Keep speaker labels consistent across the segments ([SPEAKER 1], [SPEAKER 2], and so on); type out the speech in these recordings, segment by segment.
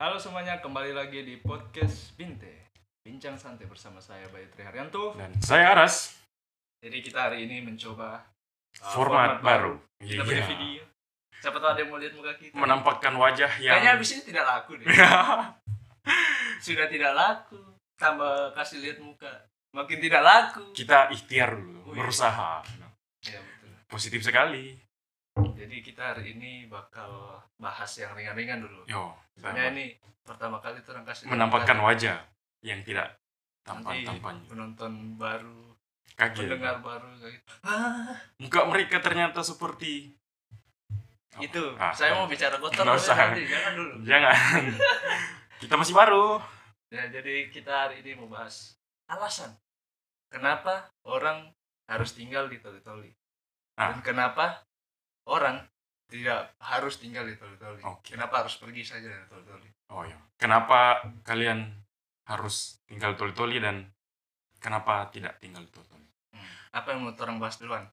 [SPEAKER 1] Halo semuanya, kembali lagi di podcast Binte. Bincang santai bersama saya Bayu Triharyanto.
[SPEAKER 2] Dan saya Aras,
[SPEAKER 1] Jadi kita hari ini mencoba uh,
[SPEAKER 2] format, baru. Iya.
[SPEAKER 1] Kita beri video. Siapa tahu ada yang mau lihat muka kita.
[SPEAKER 2] Menampakkan wajah yang
[SPEAKER 1] Kayaknya abis ini tidak laku deh. Sudah tidak laku. Tambah kasih lihat muka. Makin tidak laku.
[SPEAKER 2] kita ikhtiar dulu,
[SPEAKER 1] Wih.
[SPEAKER 2] berusaha.
[SPEAKER 1] Ya, betul.
[SPEAKER 2] Positif sekali.
[SPEAKER 1] Jadi kita hari ini bakal bahas yang ringan-ringan dulu.
[SPEAKER 2] Yo, kita
[SPEAKER 1] Sebenarnya ini pertama kali tuh orang kasih lihat
[SPEAKER 2] menampakkan
[SPEAKER 1] muka.
[SPEAKER 2] wajah yang tidak
[SPEAKER 1] Nanti
[SPEAKER 2] tampan-tampan.
[SPEAKER 1] penonton baru,
[SPEAKER 2] Iya. Kaget.
[SPEAKER 1] pendengar baru kayak gitu. Ah,
[SPEAKER 2] Muka mereka ternyata seperti Apa?
[SPEAKER 1] itu
[SPEAKER 2] Ah,
[SPEAKER 1] Gitu. saya
[SPEAKER 2] ah.
[SPEAKER 1] mau bicara kotor
[SPEAKER 2] Nggak
[SPEAKER 1] tapi
[SPEAKER 2] usah.
[SPEAKER 1] nanti jangan dulu
[SPEAKER 2] Jangan. kita masih baru.
[SPEAKER 1] ya jadi kita hari ini membahas alasan kenapa orang harus tinggal di toli-toli
[SPEAKER 2] Ah.
[SPEAKER 1] dan kenapa orang tidak harus tinggal di toli-toli
[SPEAKER 2] Oke.
[SPEAKER 1] kenapa harus pergi saja dari toli-toli
[SPEAKER 2] Oh ya. Kenapa kalian harus tinggal toli-toli dan kenapa tidak tinggal toli-toli?
[SPEAKER 1] Hmm. apa yang menurut orang bahas duluan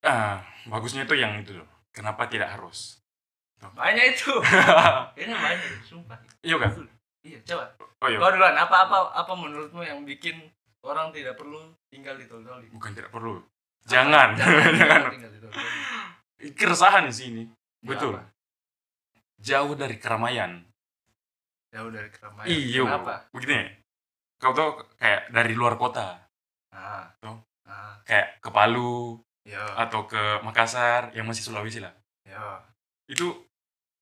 [SPEAKER 2] Ah, bagusnya itu yang itu loh. Kenapa tidak harus?
[SPEAKER 1] banyak itu ini banyak sumpah
[SPEAKER 2] Iya kan?
[SPEAKER 1] iya coba
[SPEAKER 2] Oh iya.
[SPEAKER 1] kau duluan apa apa apa menurutmu yang bikin orang tidak perlu tinggal di toli-toli
[SPEAKER 2] bukan tidak perlu jangan
[SPEAKER 1] Jangan-
[SPEAKER 2] jangan
[SPEAKER 1] tinggal di toli-toli
[SPEAKER 2] keresahan di sini
[SPEAKER 1] Ya,
[SPEAKER 2] betul
[SPEAKER 1] apa?
[SPEAKER 2] jauh dari keramaian
[SPEAKER 1] jauh dari keramaian Iya,
[SPEAKER 2] iyo
[SPEAKER 1] kenapa
[SPEAKER 2] begini kau tuh kayak dari luar kota
[SPEAKER 1] Ah.
[SPEAKER 2] Tuh.
[SPEAKER 1] Ah,
[SPEAKER 2] kayak ke Palu
[SPEAKER 1] yo,
[SPEAKER 2] atau ke Makassar yang masih Sulawesi lah
[SPEAKER 1] yo.
[SPEAKER 2] itu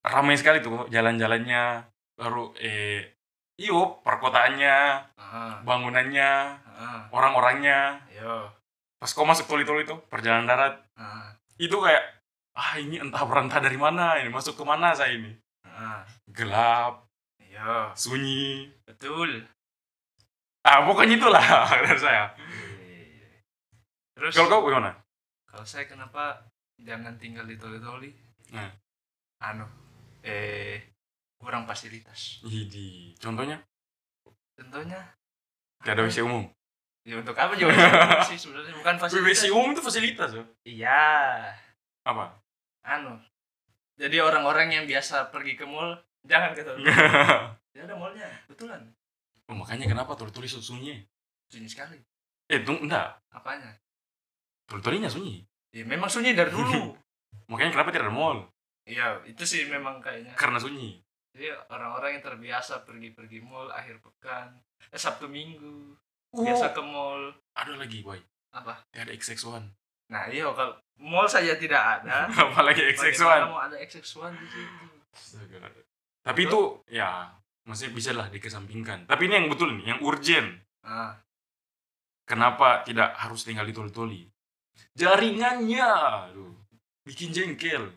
[SPEAKER 2] ramai sekali tuh jalan-jalannya baru eh iyo perkotaannya
[SPEAKER 1] Ah,
[SPEAKER 2] bangunannya
[SPEAKER 1] ah,
[SPEAKER 2] orang-orangnya
[SPEAKER 1] yo.
[SPEAKER 2] pas kau masuk toli-toli tuh perjalanan darat
[SPEAKER 1] Ah,
[SPEAKER 2] itu kayak ah ini entah berantah dari mana ini masuk kemana saya ini
[SPEAKER 1] ah,
[SPEAKER 2] gelap
[SPEAKER 1] yo.
[SPEAKER 2] sunyi
[SPEAKER 1] Betul.
[SPEAKER 2] Ah, pokoknya itulah dari saya.
[SPEAKER 1] Terus
[SPEAKER 2] Kalau kau gimana?
[SPEAKER 1] kalau saya kenapa jangan tinggal di toli-toli?
[SPEAKER 2] Nah.
[SPEAKER 1] Anu, eh kurang fasilitas.
[SPEAKER 2] Jadi, contohnya
[SPEAKER 1] Contohnya anu,
[SPEAKER 2] tidak ada WC umum.
[SPEAKER 1] ya untuk apa juga fasilitas sih sebenarnya bukan fasilitas.
[SPEAKER 2] WC umum itu fasilitas loh.
[SPEAKER 1] Iya,
[SPEAKER 2] Apa?
[SPEAKER 1] anu. Jadi orang-orang yang biasa pergi ke mall jangan ke toli. Ya ada mallnya, betulan.
[SPEAKER 2] Oh, makanya kenapa tuli-tuli su- sunyi?
[SPEAKER 1] Sunyi sekali.
[SPEAKER 2] Eh, tunggu, enggak.
[SPEAKER 1] Apanya?
[SPEAKER 2] Tuli-tulinya sunyi.
[SPEAKER 1] Ya memang sunyi dari dulu.
[SPEAKER 2] Makanya kenapa tidak ada mall?
[SPEAKER 1] Iya, itu sih memang kayaknya.
[SPEAKER 2] Karena sunyi.
[SPEAKER 1] Jadi orang-orang yang terbiasa pergi-pergi mall akhir pekan, eh, Sabtu Minggu,
[SPEAKER 2] Oh,
[SPEAKER 1] biasa ke mall.
[SPEAKER 2] ada lagi, boy.
[SPEAKER 1] Apa?
[SPEAKER 2] Tidak ada XX1.
[SPEAKER 1] Nah, iya kalau mall saja tidak ada,
[SPEAKER 2] Apalagi
[SPEAKER 1] bagaimana
[SPEAKER 2] XX1.
[SPEAKER 1] mau ada XX1 di situ?
[SPEAKER 2] Astaga. Tapi itu, ya, masih bisa lah dikesampingkan. Tapi ini yang betul nih, yang urgent.
[SPEAKER 1] Nah,
[SPEAKER 2] kenapa tidak harus tinggal di toli-toli jaringannya aduh bikin jengkel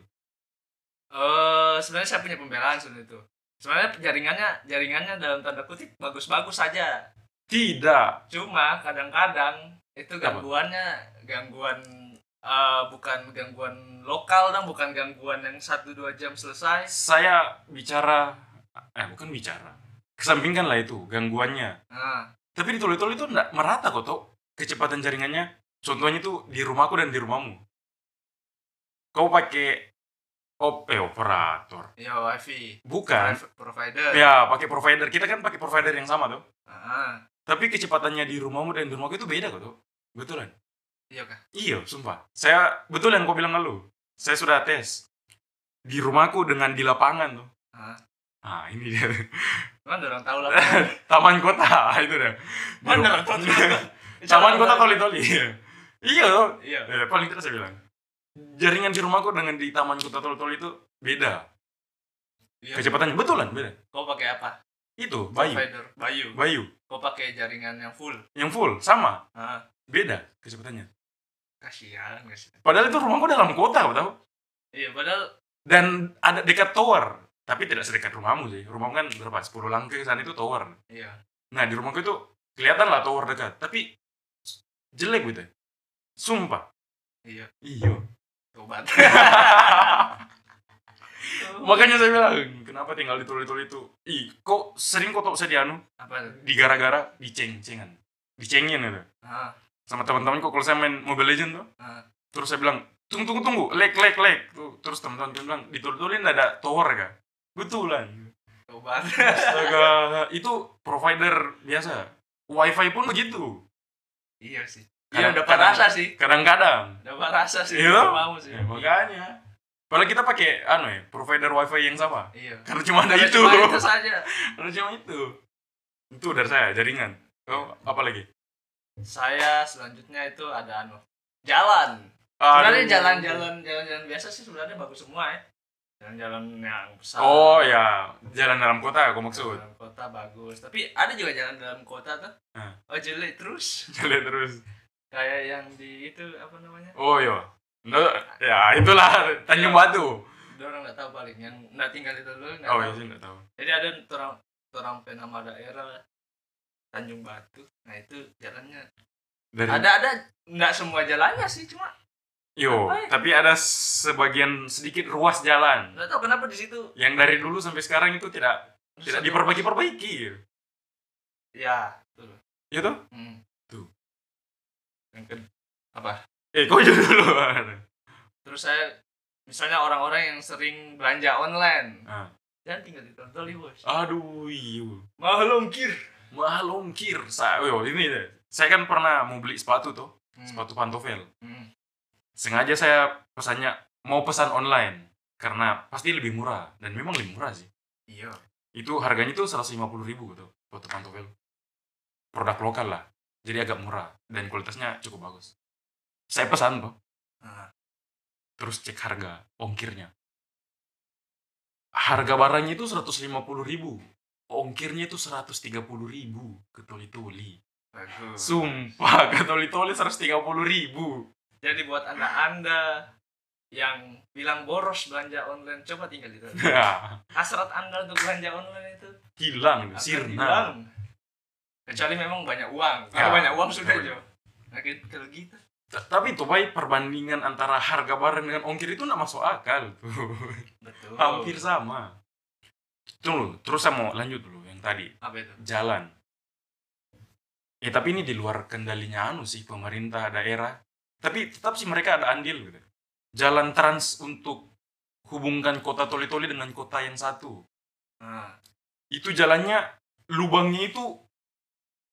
[SPEAKER 1] eh sebenarnya saya punya pembelaan soal itu. Sebenarnya jaringannya jaringannya dalam tanda kutip bagus-bagus saja.
[SPEAKER 2] tidak
[SPEAKER 1] Cuma kadang-kadang itu
[SPEAKER 2] Apa?
[SPEAKER 1] gangguannya gangguan eh, bukan gangguan lokal dan bukan gangguan yang satu dua jam selesai.
[SPEAKER 2] saya bicara eh bukan bicara kesampingkan lah itu gangguannya
[SPEAKER 1] Nah,
[SPEAKER 2] tapi di toli-toli itu enggak merata kok Tok. kecepatan jaringannya contohnya itu di rumahku dan di rumahmu kau pakai op eh, operator
[SPEAKER 1] ya wifi
[SPEAKER 2] bukan
[SPEAKER 1] Private provider.
[SPEAKER 2] ya pakai provider kita kan pakai provider yang sama tuh
[SPEAKER 1] Ah,
[SPEAKER 2] tapi kecepatannya di rumahmu dan di rumahku itu beda kok Tok. betulan
[SPEAKER 1] iya kah?
[SPEAKER 2] Iya, sumpah. Saya betul yang kau bilang ke lu. Saya sudah tes di rumahku dengan di lapangan tuh.
[SPEAKER 1] Hah?
[SPEAKER 2] Ah, ini dia.
[SPEAKER 1] Mana ada orang tahu lah.
[SPEAKER 2] Taman kota itu dah. Di
[SPEAKER 1] Mana
[SPEAKER 2] rumah-
[SPEAKER 1] orang tahu?
[SPEAKER 2] Taman kota toli-toli. Iya. Iya. tuh.
[SPEAKER 1] Iya.
[SPEAKER 2] Eh, paling tidak saya bilang. Jaringan di rumahku dengan di taman kota toli-toli itu beda.
[SPEAKER 1] Iya.
[SPEAKER 2] Kecepatannya betulan beda.
[SPEAKER 1] Kau pakai apa?
[SPEAKER 2] Itu Bayu.
[SPEAKER 1] Provider. Bayu.
[SPEAKER 2] Bayu
[SPEAKER 1] Kau pakai jaringan yang full.
[SPEAKER 2] yang full sama,
[SPEAKER 1] Ah,
[SPEAKER 2] beda kecepatannya.
[SPEAKER 1] kasihan, kasihan.
[SPEAKER 2] Padahal itu rumahku dalam kota, kau tahu?
[SPEAKER 1] Iya, padahal
[SPEAKER 2] Dan ada dekat tower, tapi tidak sedekat rumahmu sih. Rumahmu kan berapa? 10 langkah ke sana itu tower.
[SPEAKER 1] iya.
[SPEAKER 2] Nah di rumahku itu kelihatan lah tower dekat, tapi jelek gitu. Sumpah.
[SPEAKER 1] Iya.
[SPEAKER 2] Iyo.
[SPEAKER 1] Tobat.
[SPEAKER 2] Makanya saya bilang, kenapa tinggal di tuli-tuli itu? Ih, kok sering kok tau saya di anu,
[SPEAKER 1] apa tuh?
[SPEAKER 2] di gara-gara diceng-cengan. Dicengin gitu.
[SPEAKER 1] Ah,
[SPEAKER 2] Sama teman-teman kok kalau saya main Mobile Legend tuh.
[SPEAKER 1] Ah.
[SPEAKER 2] Terus saya bilang, tunggu tunggu tunggu, lag lag lag. Tuh, Terus teman-teman bilang, di tuli-tuli nggak ada tower kah? Betulan.
[SPEAKER 1] Jauh banget.
[SPEAKER 2] Astaga, itu provider biasa. Wifi pun begitu.
[SPEAKER 1] iya sih.
[SPEAKER 2] Kadang-
[SPEAKER 1] Iya udah parasa sih.
[SPEAKER 2] Kadang-kadang.
[SPEAKER 1] Udah parasa sih.
[SPEAKER 2] Iya.
[SPEAKER 1] nggak Mau sih.
[SPEAKER 2] Ya, makanya. Padahal kita pakai anu ya, provider wifi yang sama.
[SPEAKER 1] Iya.
[SPEAKER 2] Karena cuma ada
[SPEAKER 1] Karena
[SPEAKER 2] itu.
[SPEAKER 1] cuma itu saja.
[SPEAKER 2] Karena cuma itu. Itu dari saya, jaringan. Kau apa lagi?
[SPEAKER 1] Saya selanjutnya itu ada anu jalan.
[SPEAKER 2] iya.
[SPEAKER 1] Sebenarnya jalan-jalan jalan-jalan biasa sih sebenarnya bagus semua ya. Jalan-jalan yang besar.
[SPEAKER 2] Oh ya, jalan dalam kota aku maksud.
[SPEAKER 1] Dalam kota bagus, tapi ada juga jalan dalam kota tuh.
[SPEAKER 2] Hah.
[SPEAKER 1] Oh jelek terus.
[SPEAKER 2] Jalan terus.
[SPEAKER 1] Kayak yang di itu apa namanya?
[SPEAKER 2] Oh iya. No, ya itulah Tanjung
[SPEAKER 1] Iya.
[SPEAKER 2] Batu.
[SPEAKER 1] Dia orang nggak tahu paling yang nggak tinggal itu dulu. nggak
[SPEAKER 2] Oh iya
[SPEAKER 1] tahu.
[SPEAKER 2] sih enggak tahu.
[SPEAKER 1] Jadi ada orang orang penama daerah Tanjung Batu. Nah itu jalannya.
[SPEAKER 2] Dari
[SPEAKER 1] Ada ada nggak semua jalannya sih cuma
[SPEAKER 2] Yo,
[SPEAKER 1] Apa ya?
[SPEAKER 2] tapi ada sebagian sedikit ruas jalan
[SPEAKER 1] nggak tahu kenapa di situ
[SPEAKER 2] yang dari dulu sampai sekarang itu tidak
[SPEAKER 1] Satu-
[SPEAKER 2] tidak diperbaiki-perbaiki.
[SPEAKER 1] Ya, betul.
[SPEAKER 2] Gitu?
[SPEAKER 1] Hmm.
[SPEAKER 2] Tuh.
[SPEAKER 1] Yang ke-
[SPEAKER 2] Eh, kau juga dulu.
[SPEAKER 1] terus saya misalnya orang-orang yang sering belanja online.
[SPEAKER 2] Ah.
[SPEAKER 1] Dan tinggal ditonton bos.
[SPEAKER 2] Aduh, iyo.
[SPEAKER 1] Mahal ongkir.
[SPEAKER 2] Mahal ongkir. Saya, yo, ini deh. Saya kan pernah mau beli sepatu tuh,
[SPEAKER 1] Hmm.
[SPEAKER 2] sepatu pantofel.
[SPEAKER 1] Hmm.
[SPEAKER 2] Sengaja saya pesannya mau pesan online karena pasti lebih murah dan memang lebih murah sih.
[SPEAKER 1] Iya.
[SPEAKER 2] Itu harganya tuh 150 ribu gitu, sepatu pantofel. Produk lokal lah. Jadi agak murah dan kualitasnya cukup bagus. Saya pesan tuh.
[SPEAKER 1] Nah,
[SPEAKER 2] terus cek harga ongkirnya harga barangnya itu 150.000 ribu ongkirnya itu 130.000 ribu ke toli-toli
[SPEAKER 1] bagus.
[SPEAKER 2] sumpah ke toli-toli 130.000 ribu
[SPEAKER 1] Jadi buat anda-anda yang bilang boros belanja online, coba tinggal di sana. Hasrat anda untuk belanja online itu
[SPEAKER 2] Nah, hilang
[SPEAKER 1] akan
[SPEAKER 2] sirna
[SPEAKER 1] hilang. Kecuali memang banyak uang. Kalau
[SPEAKER 2] Ya.
[SPEAKER 1] banyak uang sudah
[SPEAKER 2] Betul.
[SPEAKER 1] jauh. Nah, gitu- kalau gitu.
[SPEAKER 2] T- tapi tuh baik perbandingan antara harga barang dengan ongkir itu nggak masuk akal tuh
[SPEAKER 1] Betul.
[SPEAKER 2] hampir sama Tunggu, terus saya mau lanjut dulu yang tadi
[SPEAKER 1] Apa itu?
[SPEAKER 2] jalan. Ya tapi ini di luar kendalinya anu sih pemerintah daerah. Tapi tetap sih mereka ada andil gitu. Jalan trans untuk hubungkan kota Toli-Toli dengan kota yang satu.
[SPEAKER 1] Nah,
[SPEAKER 2] Itu jalannya lubangnya itu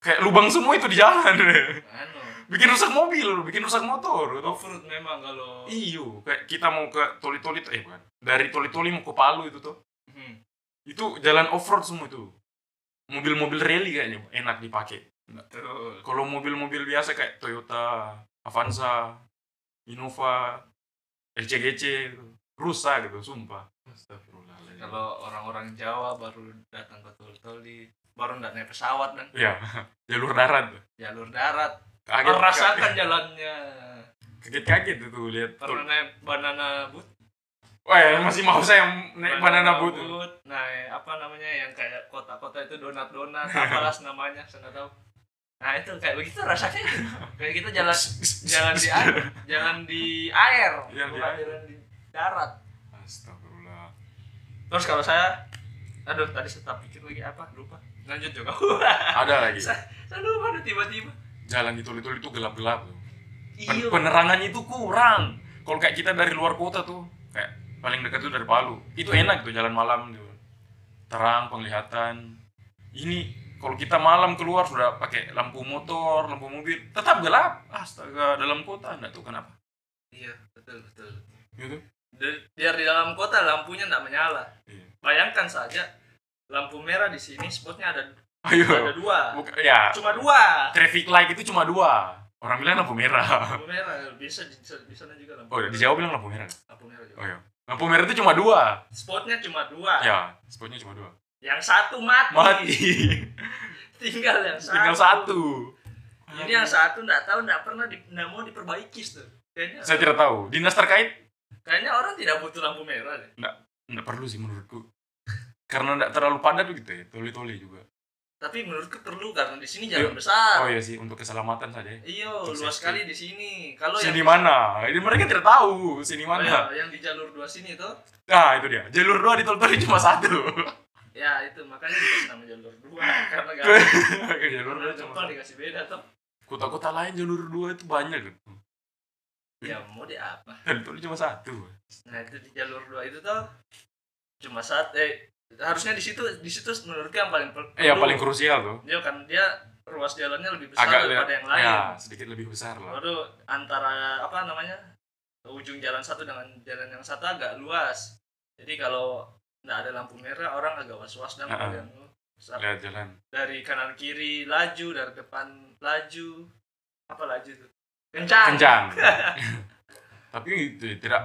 [SPEAKER 2] kayak lubang semua itu di jalan.
[SPEAKER 1] anu.
[SPEAKER 2] bikin rusak mobil, bikin rusak motor gitu.
[SPEAKER 1] Off-road memang kalau
[SPEAKER 2] Iyo, Iya, kayak kita mau ke Toli-Toli eh bukan. Dari Toli-Toli mau ke Palu itu tuh.
[SPEAKER 1] Hmm.
[SPEAKER 2] Itu jalan off-road semua itu. Mobil-mobil rally kayaknya enak dipakai.
[SPEAKER 1] Betul.
[SPEAKER 2] kalau mobil-mobil biasa kayak Toyota, Avanza, Innova, LCGC gitu, rusak gitu, sumpah. Astagfirullahaladzim.
[SPEAKER 1] Kalau orang-orang Jawa baru datang ke Tuli-Tuli, baru nggak naik pesawat dan
[SPEAKER 2] Ya, jalur darat.
[SPEAKER 1] jalur darat.
[SPEAKER 2] Kaget,
[SPEAKER 1] Merasakan jalannya.
[SPEAKER 2] kaget, kaget itu lihat.
[SPEAKER 1] pernah
[SPEAKER 2] tuh.
[SPEAKER 1] naik banana boot
[SPEAKER 2] Wah, ya, masih mau saya naik banana boat.
[SPEAKER 1] naik apa namanya yang kayak kotak-kotak itu donat donat apalah namanya saya nggak tahu nah itu kayak begitu rasanya kayak kita jalan jalan di air jalan di air
[SPEAKER 2] Jalan di
[SPEAKER 1] bukan
[SPEAKER 2] air.
[SPEAKER 1] jalan di darat
[SPEAKER 2] Astagfirullah.
[SPEAKER 1] terus kalau saya aduh tadi saya tak pikir lagi apa lupa lanjut juga
[SPEAKER 2] Ada lagi.
[SPEAKER 1] Sa- saya lupa tuh tiba-tiba
[SPEAKER 2] Jalan di Tuli-Tuli itu gelap-gelap. tuh. Pen-
[SPEAKER 1] iya
[SPEAKER 2] Penerangannya itu kurang. Kalau kayak kita dari luar kota tuh, kayak paling dekat tuh dari Palu. Itu
[SPEAKER 1] Iya.
[SPEAKER 2] enak tuh jalan malam tuh. Terang penglihatan. Ini kalau kita malam keluar sudah pakai lampu motor, lampu mobil, tetap gelap. Astaga, dalam kota enggak tuh kenapa?
[SPEAKER 1] iya betul betul Iya
[SPEAKER 2] Gitu.
[SPEAKER 1] Dari- biar di dalam kota lampunya nggak menyala
[SPEAKER 2] Iya.
[SPEAKER 1] bayangkan saja lampu merah di sini spotnya ada ada
[SPEAKER 2] Ayo.
[SPEAKER 1] dua
[SPEAKER 2] Buka- ya,
[SPEAKER 1] cuma dua
[SPEAKER 2] traffic light itu cuma dua. Orang bilang lampu merah.
[SPEAKER 1] lampu merah bisa di bisa di sana juga lampu
[SPEAKER 2] Oh, di Jawa bilang lampu merah.
[SPEAKER 1] lampu merah juga
[SPEAKER 2] Oh iya. Lampu merah itu cuma dua.
[SPEAKER 1] spotnya cuma dua
[SPEAKER 2] Ya, spotnya cuma dua.
[SPEAKER 1] yang satu mati,
[SPEAKER 2] Mati.
[SPEAKER 1] tinggal yang satu
[SPEAKER 2] Tinggal satu.
[SPEAKER 1] ini yang satu nggak tahu nggak pernah di, nggak mau diperbaiki tuh kayaknya
[SPEAKER 2] Saya tidak tahu. Dinas terkait
[SPEAKER 1] kayaknya orang tidak butuh lampu merah deh
[SPEAKER 2] nggak perlu sih menurutku. Karena nggak terlalu padat gitu ya, toli-toli juga.
[SPEAKER 1] tapi menurutku perlu karena di sini jalan
[SPEAKER 2] Iya.
[SPEAKER 1] besar
[SPEAKER 2] Oh iya sih, untuk keselamatan saja. ya.
[SPEAKER 1] iyo
[SPEAKER 2] Untuk
[SPEAKER 1] luas
[SPEAKER 2] safety.
[SPEAKER 1] sekali di sini kalau yang
[SPEAKER 2] Sini mana? Ini mereka tidak tahu
[SPEAKER 1] iya.
[SPEAKER 2] sini
[SPEAKER 1] oh,
[SPEAKER 2] mana.
[SPEAKER 1] ya, yang di jalur dua sini tuh
[SPEAKER 2] Nah, itu dia. Jalur dua di toli-toli cuma satu.
[SPEAKER 1] ya itu makanya dikasih nama jalur dua karena gak ada
[SPEAKER 2] jalur dua
[SPEAKER 1] jalur
[SPEAKER 2] cuma
[SPEAKER 1] dua
[SPEAKER 2] satu.
[SPEAKER 1] dikasih beda tuh
[SPEAKER 2] Kota-kota lain jalur dua itu banyak gitu.
[SPEAKER 1] ya mau di apa
[SPEAKER 2] Toli-toli cuma satu.
[SPEAKER 1] Nah itu di jalur dua itu tuh cuma saat eh harusnya di situ di situ menurut gue yang paling per-
[SPEAKER 2] Eh, ya
[SPEAKER 1] perlu.
[SPEAKER 2] paling krusial tuh.
[SPEAKER 1] Dia kan dia ruas jalannya lebih besar
[SPEAKER 2] Agak
[SPEAKER 1] daripada
[SPEAKER 2] lihat-
[SPEAKER 1] yang lain.
[SPEAKER 2] Ya, sedikit lebih besar lah.
[SPEAKER 1] Baru antara apa namanya ujung jalan satu dengan jalan yang satu agak luas. Jadi kalau nggak ada lampu merah orang agak was-was dan
[SPEAKER 2] Ha-ha.
[SPEAKER 1] yang besar.
[SPEAKER 2] Lihat jalan.
[SPEAKER 1] dari kanan kiri laju dari depan laju apa laju itu kencang,
[SPEAKER 2] Kencang. Tapi itu ya, tidak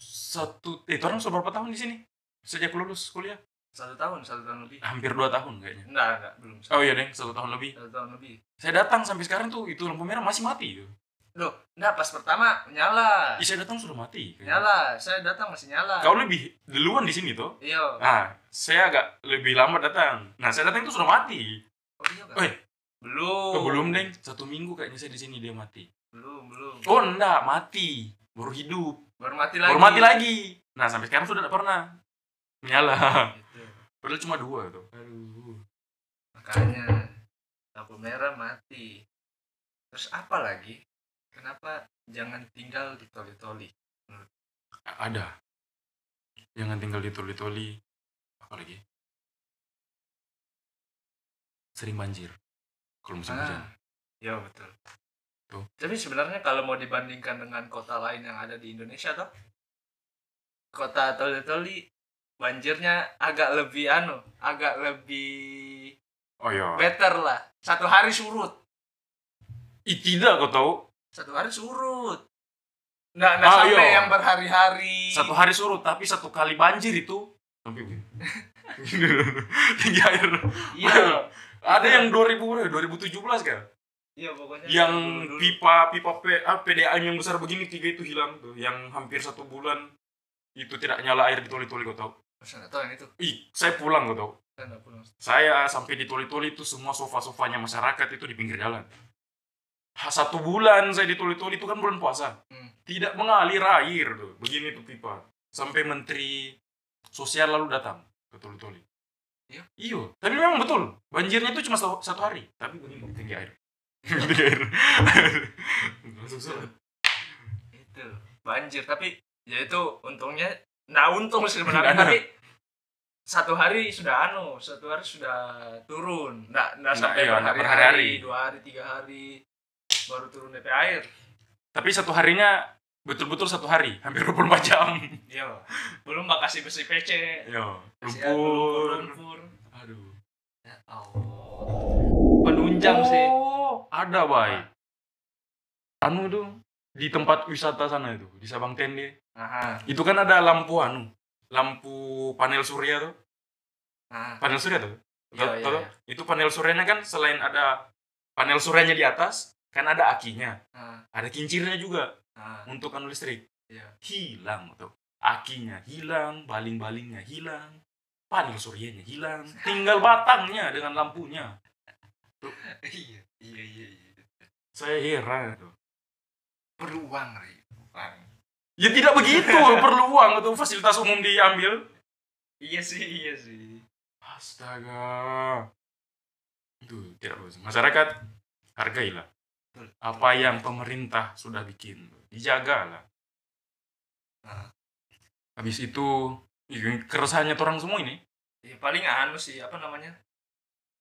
[SPEAKER 2] satu eh itu orang sudah berapa tahun di sini? Sejak lulus kuliah?
[SPEAKER 1] satu tahun satu tahun lebih
[SPEAKER 2] Hampir dua tahun kayaknya.
[SPEAKER 1] enggak enggak belum
[SPEAKER 2] Oh iya deh, satu tahun lebih.
[SPEAKER 1] satu tahun lebih
[SPEAKER 2] Saya datang sampai sekarang tuh itu lampu merah masih mati. Tuh.
[SPEAKER 1] Loh, enggak pas pertama nyala.
[SPEAKER 2] Ih, saya datang sudah mati. kayaknya.
[SPEAKER 1] Nyala, saya datang masih nyala.
[SPEAKER 2] Kau lebih duluan di sini tuh.
[SPEAKER 1] Iya.
[SPEAKER 2] Nah, saya agak lebih lambat datang. Nah, saya datang itu sudah mati.
[SPEAKER 1] Oh, iya kan?
[SPEAKER 2] Eh.
[SPEAKER 1] Belum.
[SPEAKER 2] Oh, belum, Deng. Satu minggu kayaknya saya di sini dia mati.
[SPEAKER 1] Belum, belum.
[SPEAKER 2] Oh, enggak, mati. Baru hidup.
[SPEAKER 1] Baru mati lagi.
[SPEAKER 2] Baru mati lagi. Nah, sampai sekarang sudah tidak pernah menyala.
[SPEAKER 1] Gitu.
[SPEAKER 2] Padahal cuma dua tuh. Aduh.
[SPEAKER 1] Makanya lampu merah mati. Terus apa lagi? Kenapa jangan tinggal di toli-toli?
[SPEAKER 2] A- Ada. Jangan tinggal di toli-toli. Apa lagi? Sering banjir. Kalau musim
[SPEAKER 1] Ah,
[SPEAKER 2] hujan.
[SPEAKER 1] Iya, betul.
[SPEAKER 2] Tuh.
[SPEAKER 1] Tapi sebenarnya kalau mau dibandingkan dengan kota lain yang ada di Indonesia toh kota toli-toli banjirnya agak lebih anu, agak lebih
[SPEAKER 2] Oh iya.
[SPEAKER 1] better lah satu hari surut
[SPEAKER 2] Ih, tidak kau tahu.
[SPEAKER 1] satu hari surut nggak nggak
[SPEAKER 2] Ah,
[SPEAKER 1] sampai
[SPEAKER 2] iya.
[SPEAKER 1] yang berhari-hari
[SPEAKER 2] Satu hari surut, tapi satu kali banjir itu. Sampai tinggi air.
[SPEAKER 1] iya
[SPEAKER 2] Ada yang eh, 2000 2017 kan?
[SPEAKER 1] iya pokoknya
[SPEAKER 2] yang
[SPEAKER 1] dulu- dulu.
[SPEAKER 2] pipa pipa P, ah, PDAM yang besar begini tiga itu hilang tuh yang hampir satu bulan itu tidak nyala air di toli-toli kau tahu
[SPEAKER 1] saya nggak tahu yang itu
[SPEAKER 2] ih saya pulang kau tahu
[SPEAKER 1] saya nggak pulang
[SPEAKER 2] saya sampai di toli-toli itu semua sofa-sofanya masyarakat itu di pinggir jalan Ha, satu bulan saya di toli-toli itu kan bulan puasa
[SPEAKER 1] Hmm.
[SPEAKER 2] tidak mengalir air tuh begini tuh pipa sampai menteri sosial lalu datang ke toli-toli
[SPEAKER 1] Iya.
[SPEAKER 2] iyo tapi memang betul banjirnya itu cuma satu satu hari tapi begini tinggi air tinggi air langsung surut.
[SPEAKER 1] itu banjir tapi ya itu untungnya nah untung sih sebenarnya
[SPEAKER 2] Nggak ada.
[SPEAKER 1] tapi satu hari sudah anu satu hari sudah turun nggak nggak
[SPEAKER 2] Nggak,
[SPEAKER 1] sampai
[SPEAKER 2] iya, nggak
[SPEAKER 1] berhari-hari
[SPEAKER 2] berhari-hari.
[SPEAKER 1] dua Nah, hari tiga hari baru turun dari air
[SPEAKER 2] tapi satu harinya betul-betul satu hari hampir 24 jam
[SPEAKER 1] iya belum makasih besi pece
[SPEAKER 2] yo
[SPEAKER 1] Iya. Kasihan, lumpur
[SPEAKER 2] lumpur
[SPEAKER 1] lumpur
[SPEAKER 2] aduh
[SPEAKER 1] Ya Allah. Penunjang sih.
[SPEAKER 2] Oh, ada bay. Anu tuh di tempat wisata sana itu di Sabang Tende.
[SPEAKER 1] Aha.
[SPEAKER 2] Itu kan ada lampu anu, lampu panel surya tuh.
[SPEAKER 1] Nah,
[SPEAKER 2] Panel surya tuh.
[SPEAKER 1] Iya,
[SPEAKER 2] Tau-
[SPEAKER 1] iya,
[SPEAKER 2] tau-
[SPEAKER 1] iya.
[SPEAKER 2] Itu panel suryanya kan selain ada panel suryanya di atas, kan ada akinya,
[SPEAKER 1] nah,
[SPEAKER 2] ada kincirnya juga
[SPEAKER 1] nah.
[SPEAKER 2] untuk anu listrik.
[SPEAKER 1] Iya.
[SPEAKER 2] Hilang tuh. Akinya hilang, baling-balingnya hilang, panel suryanya hilang, tinggal batangnya dengan lampunya.
[SPEAKER 1] Iya, iya, iya, iya.
[SPEAKER 2] Saya heran tuh.
[SPEAKER 1] Perlu uang, Ri. Uang.
[SPEAKER 2] Ya tidak begitu, perlu uang atau fasilitas umum diambil.
[SPEAKER 1] Iya sih, iya sih.
[SPEAKER 2] Astaga. Itu tidak bagus. Masyarakat hargailah apa yang pemerintah sudah bikin. Dijagalah.
[SPEAKER 1] Nah.
[SPEAKER 2] Habis itu ya, keresahannya orang semua ini.
[SPEAKER 1] Ya, paling anu sih, apa namanya?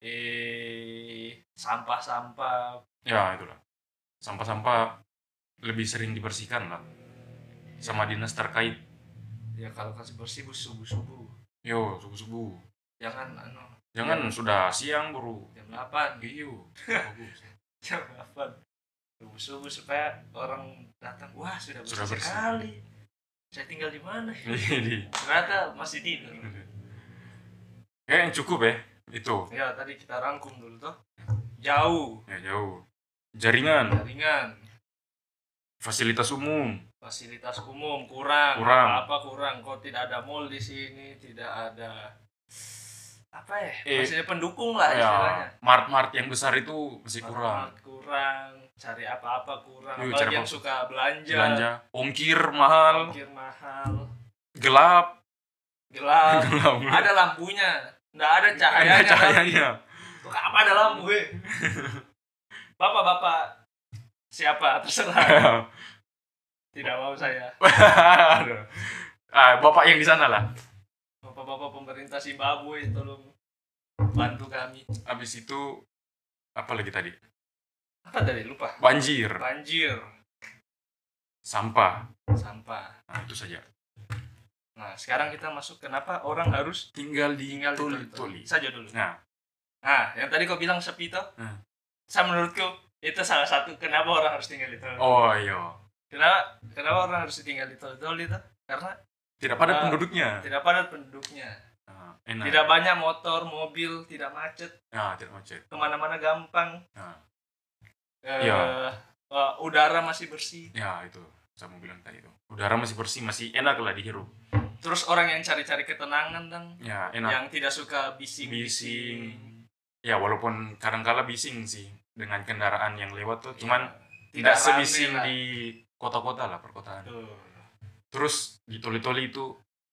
[SPEAKER 1] Eh, sampah-sampah.
[SPEAKER 2] Ya, itulah. Sampah-sampah lebih sering dibersihkan lah sama dinas terkait.
[SPEAKER 1] Ya kalau kasih bersih bu, subuh-subuh.
[SPEAKER 2] Yo, subuh-subuh.
[SPEAKER 1] Jangan anu
[SPEAKER 2] Jangan sudah siang baru.
[SPEAKER 1] jam 8,
[SPEAKER 2] Iyo, bagus.
[SPEAKER 1] jam 8. Subuh-subuh supaya orang datang, wah sudah bersih,
[SPEAKER 2] Sudah bersih.
[SPEAKER 1] sekali. Saya tinggal di mana? ya?
[SPEAKER 2] Jadi,
[SPEAKER 1] Ternyata masih tidur.
[SPEAKER 2] Kayaknya cukup ya itu.
[SPEAKER 1] Ya tadi kita rangkum dulu toh. Jauh,
[SPEAKER 2] Ya jauh. Jaringan,
[SPEAKER 1] jaringan,
[SPEAKER 2] fasilitas umum,
[SPEAKER 1] fasilitas umum kurang,
[SPEAKER 2] Kurang.
[SPEAKER 1] apa kurang. Kok tidak ada mall di sini, tidak ada apa ya?
[SPEAKER 2] Eh,
[SPEAKER 1] Masih pendukung lah Ah, iya, istilahnya.
[SPEAKER 2] ya mart-mart yang besar itu masih kurang.
[SPEAKER 1] Mart-mart kurang, cari apa-apa kurang.
[SPEAKER 2] Yuk,
[SPEAKER 1] Apalagi
[SPEAKER 2] cari
[SPEAKER 1] yang
[SPEAKER 2] apa-apa.
[SPEAKER 1] suka belanja,
[SPEAKER 2] Belanja, ongkir mahal,
[SPEAKER 1] ongkir mahal,
[SPEAKER 2] gelap,
[SPEAKER 1] gelap.
[SPEAKER 2] gelap.
[SPEAKER 1] ada lampunya, nggak ada
[SPEAKER 2] Ada
[SPEAKER 1] cahayanya.
[SPEAKER 2] cahayanya.
[SPEAKER 1] Kok apa ada lampu? eh? Bapak-bapak siapa terserah. Tidak mau saya.
[SPEAKER 2] Aduh. ah, bapak yang di sana lah.
[SPEAKER 1] bapak-bapak pemerintah Zimbabwe tolong bantu kami
[SPEAKER 2] Habis itu apa lagi tadi?
[SPEAKER 1] apa tadi lupa
[SPEAKER 2] Banjir,
[SPEAKER 1] banjir
[SPEAKER 2] sampah.
[SPEAKER 1] sampah
[SPEAKER 2] Nah, itu saja.
[SPEAKER 1] nah sekarang kita masuk kenapa orang harus
[SPEAKER 2] Tinggal di
[SPEAKER 1] tinggal di
[SPEAKER 2] tuli-tuli.
[SPEAKER 1] tuli-tuli saja dulu
[SPEAKER 2] Nah,
[SPEAKER 1] nah yang tadi kau bilang sepi toh
[SPEAKER 2] Hmm.
[SPEAKER 1] saya menurutku itu salah satu kenapa orang harus tinggal di tuli
[SPEAKER 2] oh iya.
[SPEAKER 1] kenapa kenapa orang harus tinggal di tuli-tuli toh karena
[SPEAKER 2] Tidak padat
[SPEAKER 1] Ah.
[SPEAKER 2] penduduknya.
[SPEAKER 1] tidak padat penduduknya
[SPEAKER 2] Nah, enak.
[SPEAKER 1] tidak banyak motor mobil tidak macet
[SPEAKER 2] Nah, tidak macet.
[SPEAKER 1] kemana-mana gampang
[SPEAKER 2] Nah.
[SPEAKER 1] Eh,
[SPEAKER 2] Ya.
[SPEAKER 1] eh, udara masih bersih
[SPEAKER 2] Ya, itu. Saya mau bilang tadi itu. Udara masih bersih, masih enak lah dihirup.
[SPEAKER 1] terus orang yang cari-cari ketenangan dan
[SPEAKER 2] Ya, enak.
[SPEAKER 1] yang tidak suka bising
[SPEAKER 2] bising. Ya, walaupun kadangkala bising sih dengan kendaraan yang lewat tuh. Cuman
[SPEAKER 1] Ya, Iya,
[SPEAKER 2] tidak
[SPEAKER 1] rame
[SPEAKER 2] sebising
[SPEAKER 1] lah.
[SPEAKER 2] di kota-kota lah perkotaan
[SPEAKER 1] Tuh.
[SPEAKER 2] terus di toli-toli itu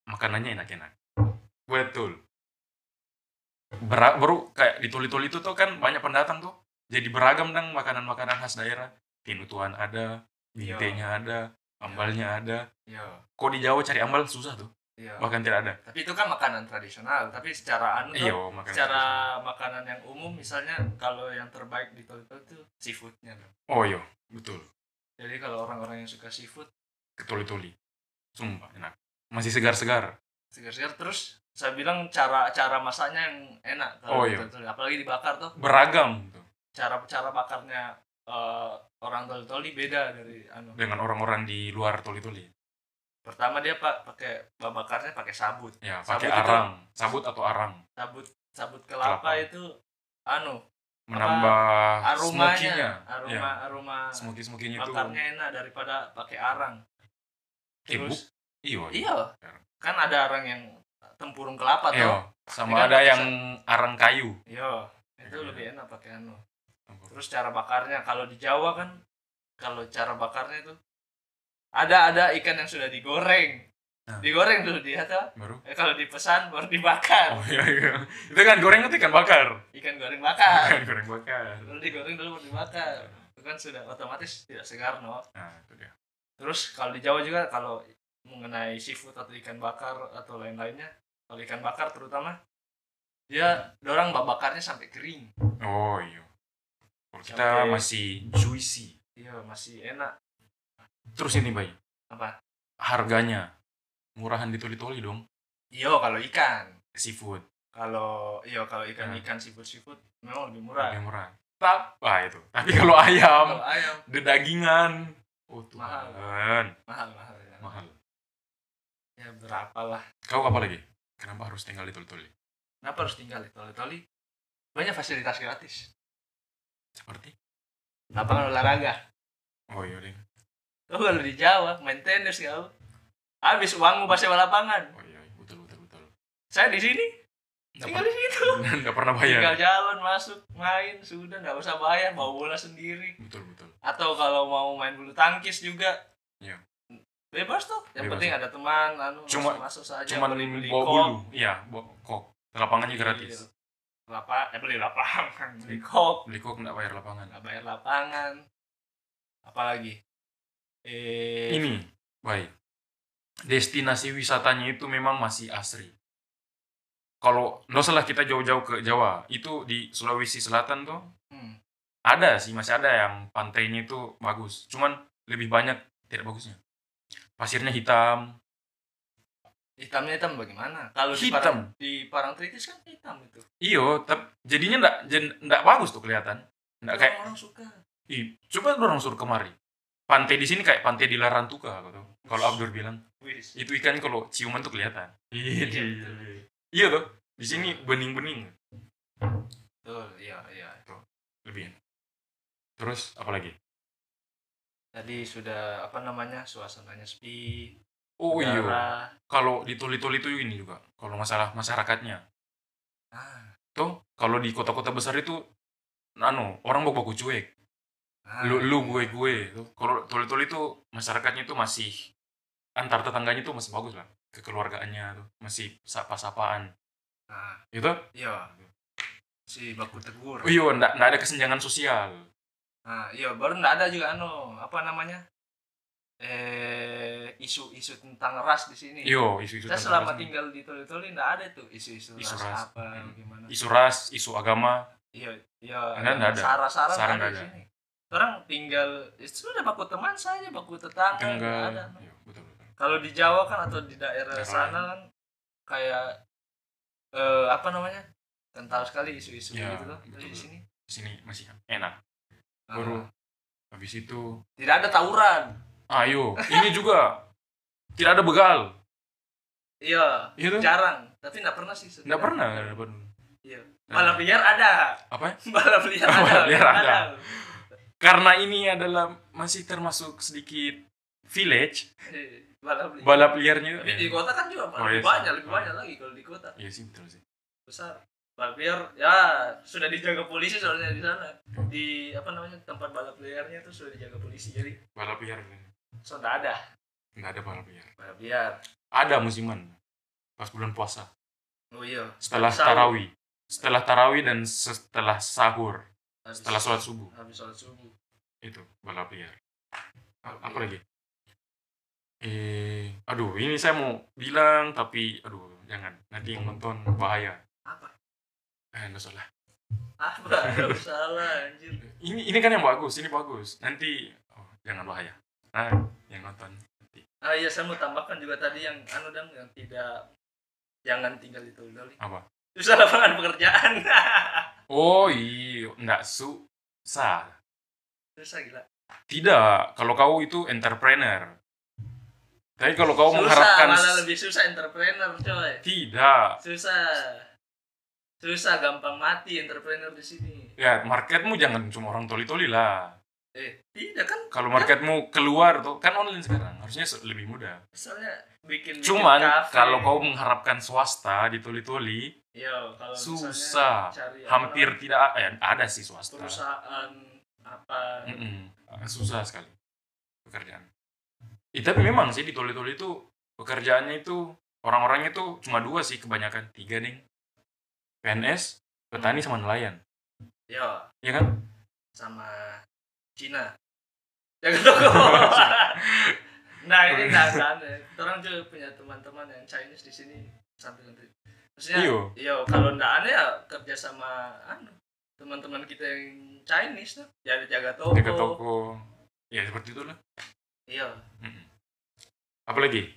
[SPEAKER 2] makanannya enak-enak betul Bera- baru kayak di toli-toli itu tuh kan banyak pendatang tuh jadi beragam dong makanan-makanan khas daerah tinutuan ada
[SPEAKER 1] Iya.
[SPEAKER 2] bintenya ada ambalnya ada
[SPEAKER 1] Iya,
[SPEAKER 2] kok di Jawa cari ambal susah tuh
[SPEAKER 1] iya.
[SPEAKER 2] bahkan tidak ada
[SPEAKER 1] tapi itu kan makanan tradisional tapi secara anu
[SPEAKER 2] iya
[SPEAKER 1] tuh,
[SPEAKER 2] makanan
[SPEAKER 1] secara makanan yang umum misalnya kalau yang terbaik di Tokyo itu seafoodnya tuh.
[SPEAKER 2] oh iya betul
[SPEAKER 1] jadi kalau orang-orang yang suka seafood
[SPEAKER 2] ke toli-toli sumpah enak masih segar-segar
[SPEAKER 1] segar-segar terus saya bilang cara cara masaknya yang enak kalau
[SPEAKER 2] Oh,
[SPEAKER 1] di
[SPEAKER 2] iya.
[SPEAKER 1] Tokyo. apalagi dibakar tuh
[SPEAKER 2] beragam gitu, tuh
[SPEAKER 1] cara cara bakarnya eh, orang toli-toli beda dari anu
[SPEAKER 2] dengan orang-orang di luar toli-toli
[SPEAKER 1] pertama dia pak pakai bakarnya pakai sabut
[SPEAKER 2] Ya,
[SPEAKER 1] Sabut
[SPEAKER 2] pakai
[SPEAKER 1] itu-
[SPEAKER 2] arang, sabut atau arang
[SPEAKER 1] sabut sabut kelapa,
[SPEAKER 2] Kelapa.
[SPEAKER 1] itu anu
[SPEAKER 2] menambah
[SPEAKER 1] aromanya Ah,
[SPEAKER 2] smokinya. Ya,
[SPEAKER 1] aroma aroma
[SPEAKER 2] smoky smokinya itu.
[SPEAKER 1] bakarnya enak daripada pakai arang
[SPEAKER 2] Kibuk.
[SPEAKER 1] terus
[SPEAKER 2] Iya.
[SPEAKER 1] iya kan ada arang yang tempurung kelapa
[SPEAKER 2] Iya.
[SPEAKER 1] tuh Ini
[SPEAKER 2] Sama
[SPEAKER 1] kan
[SPEAKER 2] ada
[SPEAKER 1] bisa-
[SPEAKER 2] yang arang kayu.
[SPEAKER 1] iya itu
[SPEAKER 2] Iya.
[SPEAKER 1] lebih enak pakai anu terus cara bakarnya kalau di Jawa kan kalau cara bakarnya itu ada ada ikan yang sudah digoreng
[SPEAKER 2] Nah.
[SPEAKER 1] digoreng dulu dia tuh
[SPEAKER 2] Baru.
[SPEAKER 1] eh, kalau dipesan baru dibakar
[SPEAKER 2] Oh iya iya. Itu kan goreng itu ikan bakar.
[SPEAKER 1] ikan goreng bakar
[SPEAKER 2] Ikan goreng bakar.
[SPEAKER 1] lalu digoreng dulu baru dibakar itu kan sudah otomatis tidak segar no
[SPEAKER 2] Nah, itu dia.
[SPEAKER 1] terus kalau di Jawa juga kalau mengenai seafood atau ikan bakar atau lain-lainnya kalau ikan bakar terutama dia dorang bak bakarnya sampai kering
[SPEAKER 2] Oh iya. Kalau kita
[SPEAKER 1] Sampai-
[SPEAKER 2] masih juicy.
[SPEAKER 1] iya masih enak
[SPEAKER 2] Terus ini, Bay.
[SPEAKER 1] Apa?
[SPEAKER 2] Harganya murahan di toli-toli dong.
[SPEAKER 1] iya kalau ikan
[SPEAKER 2] Seafood
[SPEAKER 1] kalau iya kalau ikan ikan seafood seafood memang lebih murah
[SPEAKER 2] lebih murah.
[SPEAKER 1] Tapi
[SPEAKER 2] Wah, itu. Tapi kalau ayam,
[SPEAKER 1] kalau ayam
[SPEAKER 2] dedagingan, oh
[SPEAKER 1] Mahal.
[SPEAKER 2] Tuhan,
[SPEAKER 1] mahal mahal ya,
[SPEAKER 2] mahal.
[SPEAKER 1] ya berapa lah
[SPEAKER 2] Kau apa lagi? Kenapa harus tinggal di Tuli-Tuli?
[SPEAKER 1] kenapa harus tinggal di Toli Toli banyak fasilitas gratis
[SPEAKER 2] Seperti?
[SPEAKER 1] lapangan olahraga
[SPEAKER 2] Oh iya deh.
[SPEAKER 1] Lu kalau di Jawa main tenis kau. Habis uangmu pas sewa lapangan.
[SPEAKER 2] Oh iya, iya. betul betul betul.
[SPEAKER 1] Saya di sini,
[SPEAKER 2] Nggak
[SPEAKER 1] tinggal di situ.
[SPEAKER 2] pernah- nggak pernah bayar.
[SPEAKER 1] Tinggal jalan masuk, main, sudah nggak usah bayar, bawa bola sendiri.
[SPEAKER 2] Betul betul.
[SPEAKER 1] Atau kalau mau main bulu tangkis juga.
[SPEAKER 2] Iya.
[SPEAKER 1] Bebas tuh. Yang
[SPEAKER 2] Bebas. iya.
[SPEAKER 1] penting ada teman, anu
[SPEAKER 2] Cuma-
[SPEAKER 1] masuk, masuk saja
[SPEAKER 2] Cuman
[SPEAKER 1] beli-beli
[SPEAKER 2] bawa
[SPEAKER 1] kok.
[SPEAKER 2] bulu. Iya, bawa kok. Lapangannya gratis.
[SPEAKER 1] Iya. Lapa, eh, beli lapangan, beli kok,
[SPEAKER 2] Beli kok nggak bayar lapangan.
[SPEAKER 1] nggak bayar lapangan. Apalagi? Eh,
[SPEAKER 2] Ini, baik. Destinasi wisatanya itu memang masih asri. Kalau nggak salah kita jauh-jauh ke Jawa, itu di Sulawesi Selatan tuh
[SPEAKER 1] hmm,
[SPEAKER 2] ada sih masih ada yang pantainya itu bagus cuman lebih banyak tidak bagusnya pasirnya hitam
[SPEAKER 1] hitamnya hitam bagaimana? Kalau di,
[SPEAKER 2] Hitam.
[SPEAKER 1] parang, di Parangtritis kan hitam itu.
[SPEAKER 2] iyo tapi jadinya ndak jen- ndak bagus tuh kelihatan ndak kayak
[SPEAKER 1] orang suka
[SPEAKER 2] ih, coba orang suruh kemari pantai di sini kayak pantai di Larantuka kau tahu. kalau Abdur bilang
[SPEAKER 1] wis
[SPEAKER 2] itu ikan kalau ciuman tuh kelihatan iya
[SPEAKER 1] Iya,
[SPEAKER 2] iya,
[SPEAKER 1] betul.
[SPEAKER 2] iya. iya tuh di sini bening-bening
[SPEAKER 1] betul iya iya
[SPEAKER 2] lebih enak. terus apa lagi
[SPEAKER 1] tadi sudah apa namanya suasananya sepi
[SPEAKER 2] oh iya
[SPEAKER 1] udara.
[SPEAKER 2] kalau di toli-toli itu ini juga kalau masalah masyarakatnya
[SPEAKER 1] ah,
[SPEAKER 2] tuh kalau di kota-kota besar itu anu orang baku-baku cuek
[SPEAKER 1] ah,
[SPEAKER 2] lu lu gue gue itu kalau tuli tuli itu masyarakatnya itu masih antar tetangganya itu masih bagus lah kekeluargaannya tuh masih sapa sapaan
[SPEAKER 1] ah,
[SPEAKER 2] gitu
[SPEAKER 1] iya si baku tegur Nah,
[SPEAKER 2] oh, iya ndak ndak ada kesenjangan sosial
[SPEAKER 1] ah iya baru nggak ada juga anu apa namanya eh isu-isu tentang ras di sini
[SPEAKER 2] Yo, isu-isu
[SPEAKER 1] kita
[SPEAKER 2] Iya, tentang
[SPEAKER 1] selama
[SPEAKER 2] ras nih.
[SPEAKER 1] tinggal di Tuli-Tuli nggak ada tuh isu-isu
[SPEAKER 2] Isu
[SPEAKER 1] ras,
[SPEAKER 2] ras.
[SPEAKER 1] apa
[SPEAKER 2] Hmm.
[SPEAKER 1] gimana
[SPEAKER 2] isu ras, isu agama.
[SPEAKER 1] iya iya
[SPEAKER 2] Ada, nggak ada.
[SPEAKER 1] sara-sara
[SPEAKER 2] Sara
[SPEAKER 1] nggak ada
[SPEAKER 2] nggak
[SPEAKER 1] di
[SPEAKER 2] ada.
[SPEAKER 1] sini orang tinggal ya sudah baku teman saja baku tetangga nggak ada
[SPEAKER 2] Tenggal. Yo, betul betul.
[SPEAKER 1] kalau di Jawa kan atau di daerah
[SPEAKER 2] Daerah
[SPEAKER 1] sana kan kayak eh, apa namanya kental sekali isu-isu
[SPEAKER 2] Ya,
[SPEAKER 1] gitu loh Kalau di
[SPEAKER 2] betul.
[SPEAKER 1] sini
[SPEAKER 2] Sini masih enak.
[SPEAKER 1] ah,
[SPEAKER 2] Baru habis itu
[SPEAKER 1] tidak ada tawuran
[SPEAKER 2] Ayo, ini juga tidak ada begal.
[SPEAKER 1] iya
[SPEAKER 2] Iya tuh?
[SPEAKER 1] jarang tapi nggak pernah sih sebenarnya.
[SPEAKER 2] Nggak pernah nggak dapat.
[SPEAKER 1] iya
[SPEAKER 2] Nah,
[SPEAKER 1] balap liar ada
[SPEAKER 2] apa? ya?
[SPEAKER 1] balap liar ada
[SPEAKER 2] Balap liar
[SPEAKER 1] memang
[SPEAKER 2] ada. Karena ini adalah masih termasuk sedikit village
[SPEAKER 1] Iya, balap liar
[SPEAKER 2] balap liarnya.
[SPEAKER 1] tapi di
[SPEAKER 2] Iya,
[SPEAKER 1] kota kan juga
[SPEAKER 2] Oh,
[SPEAKER 1] lebih
[SPEAKER 2] iya sih.
[SPEAKER 1] banyak lebih
[SPEAKER 2] Oh.
[SPEAKER 1] banyak lagi kalau di kota
[SPEAKER 2] Iya sih betul sih.
[SPEAKER 1] besar balap liar ya sudah dijaga polisi soalnya di sana di apa namanya tempat balap liarnya tuh sudah dijaga polisi jadi
[SPEAKER 2] Balap liar.
[SPEAKER 1] so nggak ada
[SPEAKER 2] Nggak ada balap liar.
[SPEAKER 1] balap liar
[SPEAKER 2] Ada musiman. Pas bulan puasa.
[SPEAKER 1] Oh iya.
[SPEAKER 2] Setelah
[SPEAKER 1] Sahur.
[SPEAKER 2] tarawih. Setelah tarawih dan setelah sahur.
[SPEAKER 1] Habis,
[SPEAKER 2] Setelah sholat subuh.
[SPEAKER 1] habis sholat subuh.
[SPEAKER 2] Itu balap liar. A- Apa lagi? Eh, aduh, ini saya mau bilang tapi aduh, jangan. Nanti yang nonton bahaya.
[SPEAKER 1] Apa?
[SPEAKER 2] Eh, nggak salah.
[SPEAKER 1] Apa? Gak salah anjir.
[SPEAKER 2] Ini ini kan yang bagus, ini bagus. Nanti oh, jangan bahaya. Nah, yang nonton.
[SPEAKER 1] Ah iya saya mau tambahkan juga tadi yang anu dong yang tidak jangan tinggal di Tulung
[SPEAKER 2] Apa?
[SPEAKER 1] Susah lapangan pekerjaan.
[SPEAKER 2] Oh, iya, enggak susah.
[SPEAKER 1] Susah gila.
[SPEAKER 2] Tidak, kalau kau itu entrepreneur. Tapi kalau kau
[SPEAKER 1] susah
[SPEAKER 2] mengharapkan
[SPEAKER 1] malah lebih susah entrepreneur coy.
[SPEAKER 2] tidak.
[SPEAKER 1] Susah. Susah gampang mati entrepreneur di sini.
[SPEAKER 2] Ya, marketmu jangan cuma orang toli-toli lah.
[SPEAKER 1] Eh, tidak kan
[SPEAKER 2] Kalau marketmu keluar tuh kan online sekarang, harusnya se- lebih mudah.
[SPEAKER 1] misalnya bikin
[SPEAKER 2] Cuman kalau kau mengharapkan swasta di toli-toli,
[SPEAKER 1] Yo, Iya, kalau misalnya
[SPEAKER 2] Susah.
[SPEAKER 1] cari apa
[SPEAKER 2] hampir
[SPEAKER 1] namanya,
[SPEAKER 2] tidak ada, ada sih swasta.
[SPEAKER 1] Iya. perusahaan apa
[SPEAKER 2] Mm-mm. Ah, Susah sekali pekerjaan. Eh, tapi memang sih di toli-toli itu pekerjaannya itu orang-orangnya itu cuma dua sih kebanyakan tiga nih PNS, petani sama nelayan,
[SPEAKER 1] yo
[SPEAKER 2] ya kan?
[SPEAKER 1] sama Cina. Ya, Jaga toko. nah ini nggak kan. Orang juga punya teman-teman yang Chinese di sini sambil nanti. Maksudnya,
[SPEAKER 2] Iyo.
[SPEAKER 1] iyo, kalau nggak aneh ya kerja sama anu, teman-teman kita yang Chinese tuh, ya ada jaga toko. Iya.
[SPEAKER 2] Jaga toko, ya seperti itulah.
[SPEAKER 1] Iyo,
[SPEAKER 2] Mm-mm. Apalagi?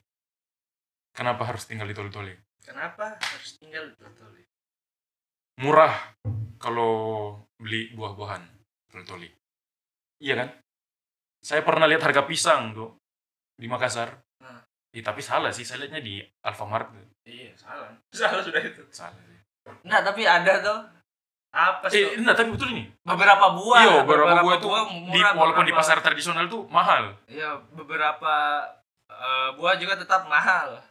[SPEAKER 2] Kenapa harus tinggal di ya? toli-toli?
[SPEAKER 1] kenapa harus tinggal di Toli?
[SPEAKER 2] Murah kalau beli buah-buahan toli-toli. Iya kan? Saya pernah lihat harga pisang tuh di Makassar.
[SPEAKER 1] Nah.
[SPEAKER 2] Ih, tapi salah sih, saya lihatnya di Alfamart.
[SPEAKER 1] Iya, salah. Salah sudah itu.
[SPEAKER 2] Salah sih.
[SPEAKER 1] Nah, tapi ada tuh apa
[SPEAKER 2] Eh,
[SPEAKER 1] sih?
[SPEAKER 2] enggak, tapi betul ini.
[SPEAKER 1] beberapa buah.
[SPEAKER 2] Iya, beberapa buah itu di,
[SPEAKER 1] murah,
[SPEAKER 2] walaupun di
[SPEAKER 1] beberapa-
[SPEAKER 2] pasar tradisional tuh mahal.
[SPEAKER 1] Ya, beberapa eh, buah juga tetap mahal.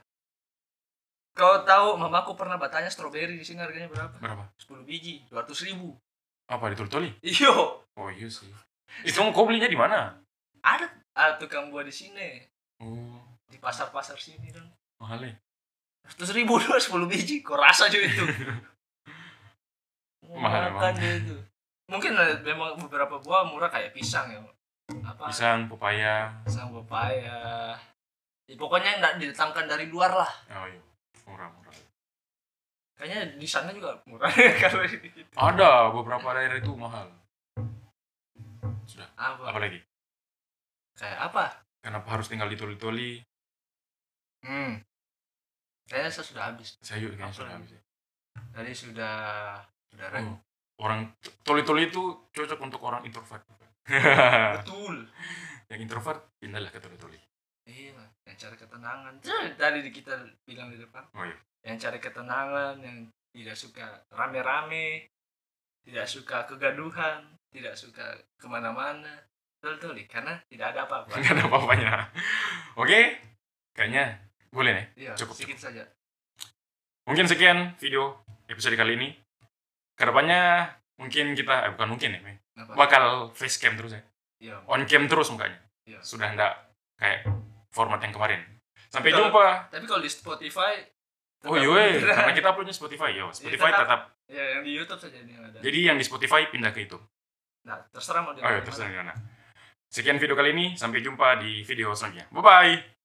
[SPEAKER 1] Kau tahu, mamaku pernah bertanya stroberi di sini harganya berapa?
[SPEAKER 2] Berapa?
[SPEAKER 1] 10 biji, 200 ribu.
[SPEAKER 2] Apa di Toli-Toli?
[SPEAKER 1] Iyo,
[SPEAKER 2] Oh iya sih. Itu kau belinya di mana?
[SPEAKER 1] ada ah, tukang buah di sini.
[SPEAKER 2] Oh,
[SPEAKER 1] Di pasar-pasar sini dong.
[SPEAKER 2] mahal ya.
[SPEAKER 1] 100 ribu doang 10 biji, kau rasa juga itu.
[SPEAKER 2] Mahal
[SPEAKER 1] Makan dia itu. Mungkin eh, memang beberapa buah murah kayak pisang ya. Apa?
[SPEAKER 2] Pisang, pepaya.
[SPEAKER 1] Pisang pepaya. Ya, pokoknya nggak didatangkan dari luar lah.
[SPEAKER 2] Oh iya. Murah-murah.
[SPEAKER 1] Kayaknya di sana juga murah kalau di
[SPEAKER 2] Ada beberapa daerah itu mahal. Sudah.
[SPEAKER 1] apa
[SPEAKER 2] Apalagi?
[SPEAKER 1] kayak apa
[SPEAKER 2] Kenapa harus tinggal di Toli-Toli?
[SPEAKER 1] hmm kayaknya saya sudah habis
[SPEAKER 2] Saya yuk kayaknya
[SPEAKER 1] Apa
[SPEAKER 2] sudah
[SPEAKER 1] lagi?
[SPEAKER 2] habis. ya.
[SPEAKER 1] tadi sudah sudah
[SPEAKER 2] Oh. Orang Toli-Toli itu cocok untuk orang introvert.
[SPEAKER 1] betul
[SPEAKER 2] Yang introvert pindahlah ke Toli-Toli.
[SPEAKER 1] iya yang cari ketenangan Tuh, tadi di- kita bilang di depan
[SPEAKER 2] Oh iya.
[SPEAKER 1] yang cari ketenangan yang tidak suka rame-rame tidak suka kegaduhan tidak suka kemana-mana betul betul karena tidak ada apa-apa
[SPEAKER 2] nggak ada apa-apanya. Oke, kayaknya boleh nih.
[SPEAKER 1] iya
[SPEAKER 2] Cukup,
[SPEAKER 1] sedikit saja
[SPEAKER 2] Mungkin sekian video episode kali ini. Kedepannya mungkin kita, eh, bukan mungkin ya, Mi.
[SPEAKER 1] Kenapa?
[SPEAKER 2] bakal face cam terus ya,
[SPEAKER 1] Iya.
[SPEAKER 2] on cam terus mukanya.
[SPEAKER 1] Iya.
[SPEAKER 2] Sudah ndak kayak format yang kemarin. Sampai
[SPEAKER 1] Betul.
[SPEAKER 2] jumpa.
[SPEAKER 1] tapi kalau di Spotify
[SPEAKER 2] Oh
[SPEAKER 1] tetap
[SPEAKER 2] iya,
[SPEAKER 1] beneran.
[SPEAKER 2] karena kita punya Spotify ya. Spotify
[SPEAKER 1] tetap.
[SPEAKER 2] tetap.
[SPEAKER 1] ya yang di YouTube saja ini yang ada
[SPEAKER 2] Jadi yang di Spotify pindah ke itu.
[SPEAKER 1] nah terserah mau
[SPEAKER 2] Iya. Oh iya,
[SPEAKER 1] dengerin
[SPEAKER 2] terserah di mana. Sekian video kali ini. Sampai jumpa di video selanjutnya. Bye bye.